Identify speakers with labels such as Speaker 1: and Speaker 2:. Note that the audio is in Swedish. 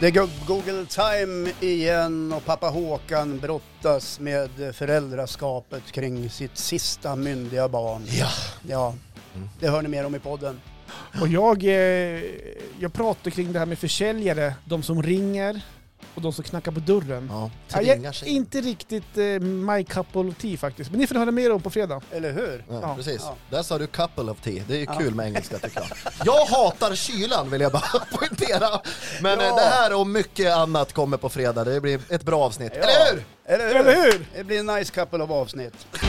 Speaker 1: Det är Go- Google Time igen och pappa Håkan brottas med föräldraskapet kring sitt sista myndiga barn.
Speaker 2: Ja. Mm.
Speaker 1: Ja, det hör ni mer om i podden.
Speaker 3: Och jag, eh, jag pratar kring det här med försäljare, de som ringer och de som knackar på dörren.
Speaker 2: ja.
Speaker 3: Ja,
Speaker 2: Tvingar
Speaker 3: jag,
Speaker 2: sig.
Speaker 3: inte riktigt eh, my cup of tea faktiskt, men ni får höra mer om på fredag.
Speaker 1: Eller hur?
Speaker 2: Ja,
Speaker 3: Ja.
Speaker 2: precis.
Speaker 1: Ja.
Speaker 2: Där sa du couple of tea. Det är ju kul med engelska tycker jag. Jag hatar kylan vill jag bara poängtera. Men
Speaker 1: Ja.
Speaker 2: eh, det här och mycket annat kommer på fredag. Det blir ett bra avsnitt. Eller hur?
Speaker 1: Eller hur?
Speaker 3: Eller hur?
Speaker 1: Det blir en nice couple av avsnitt.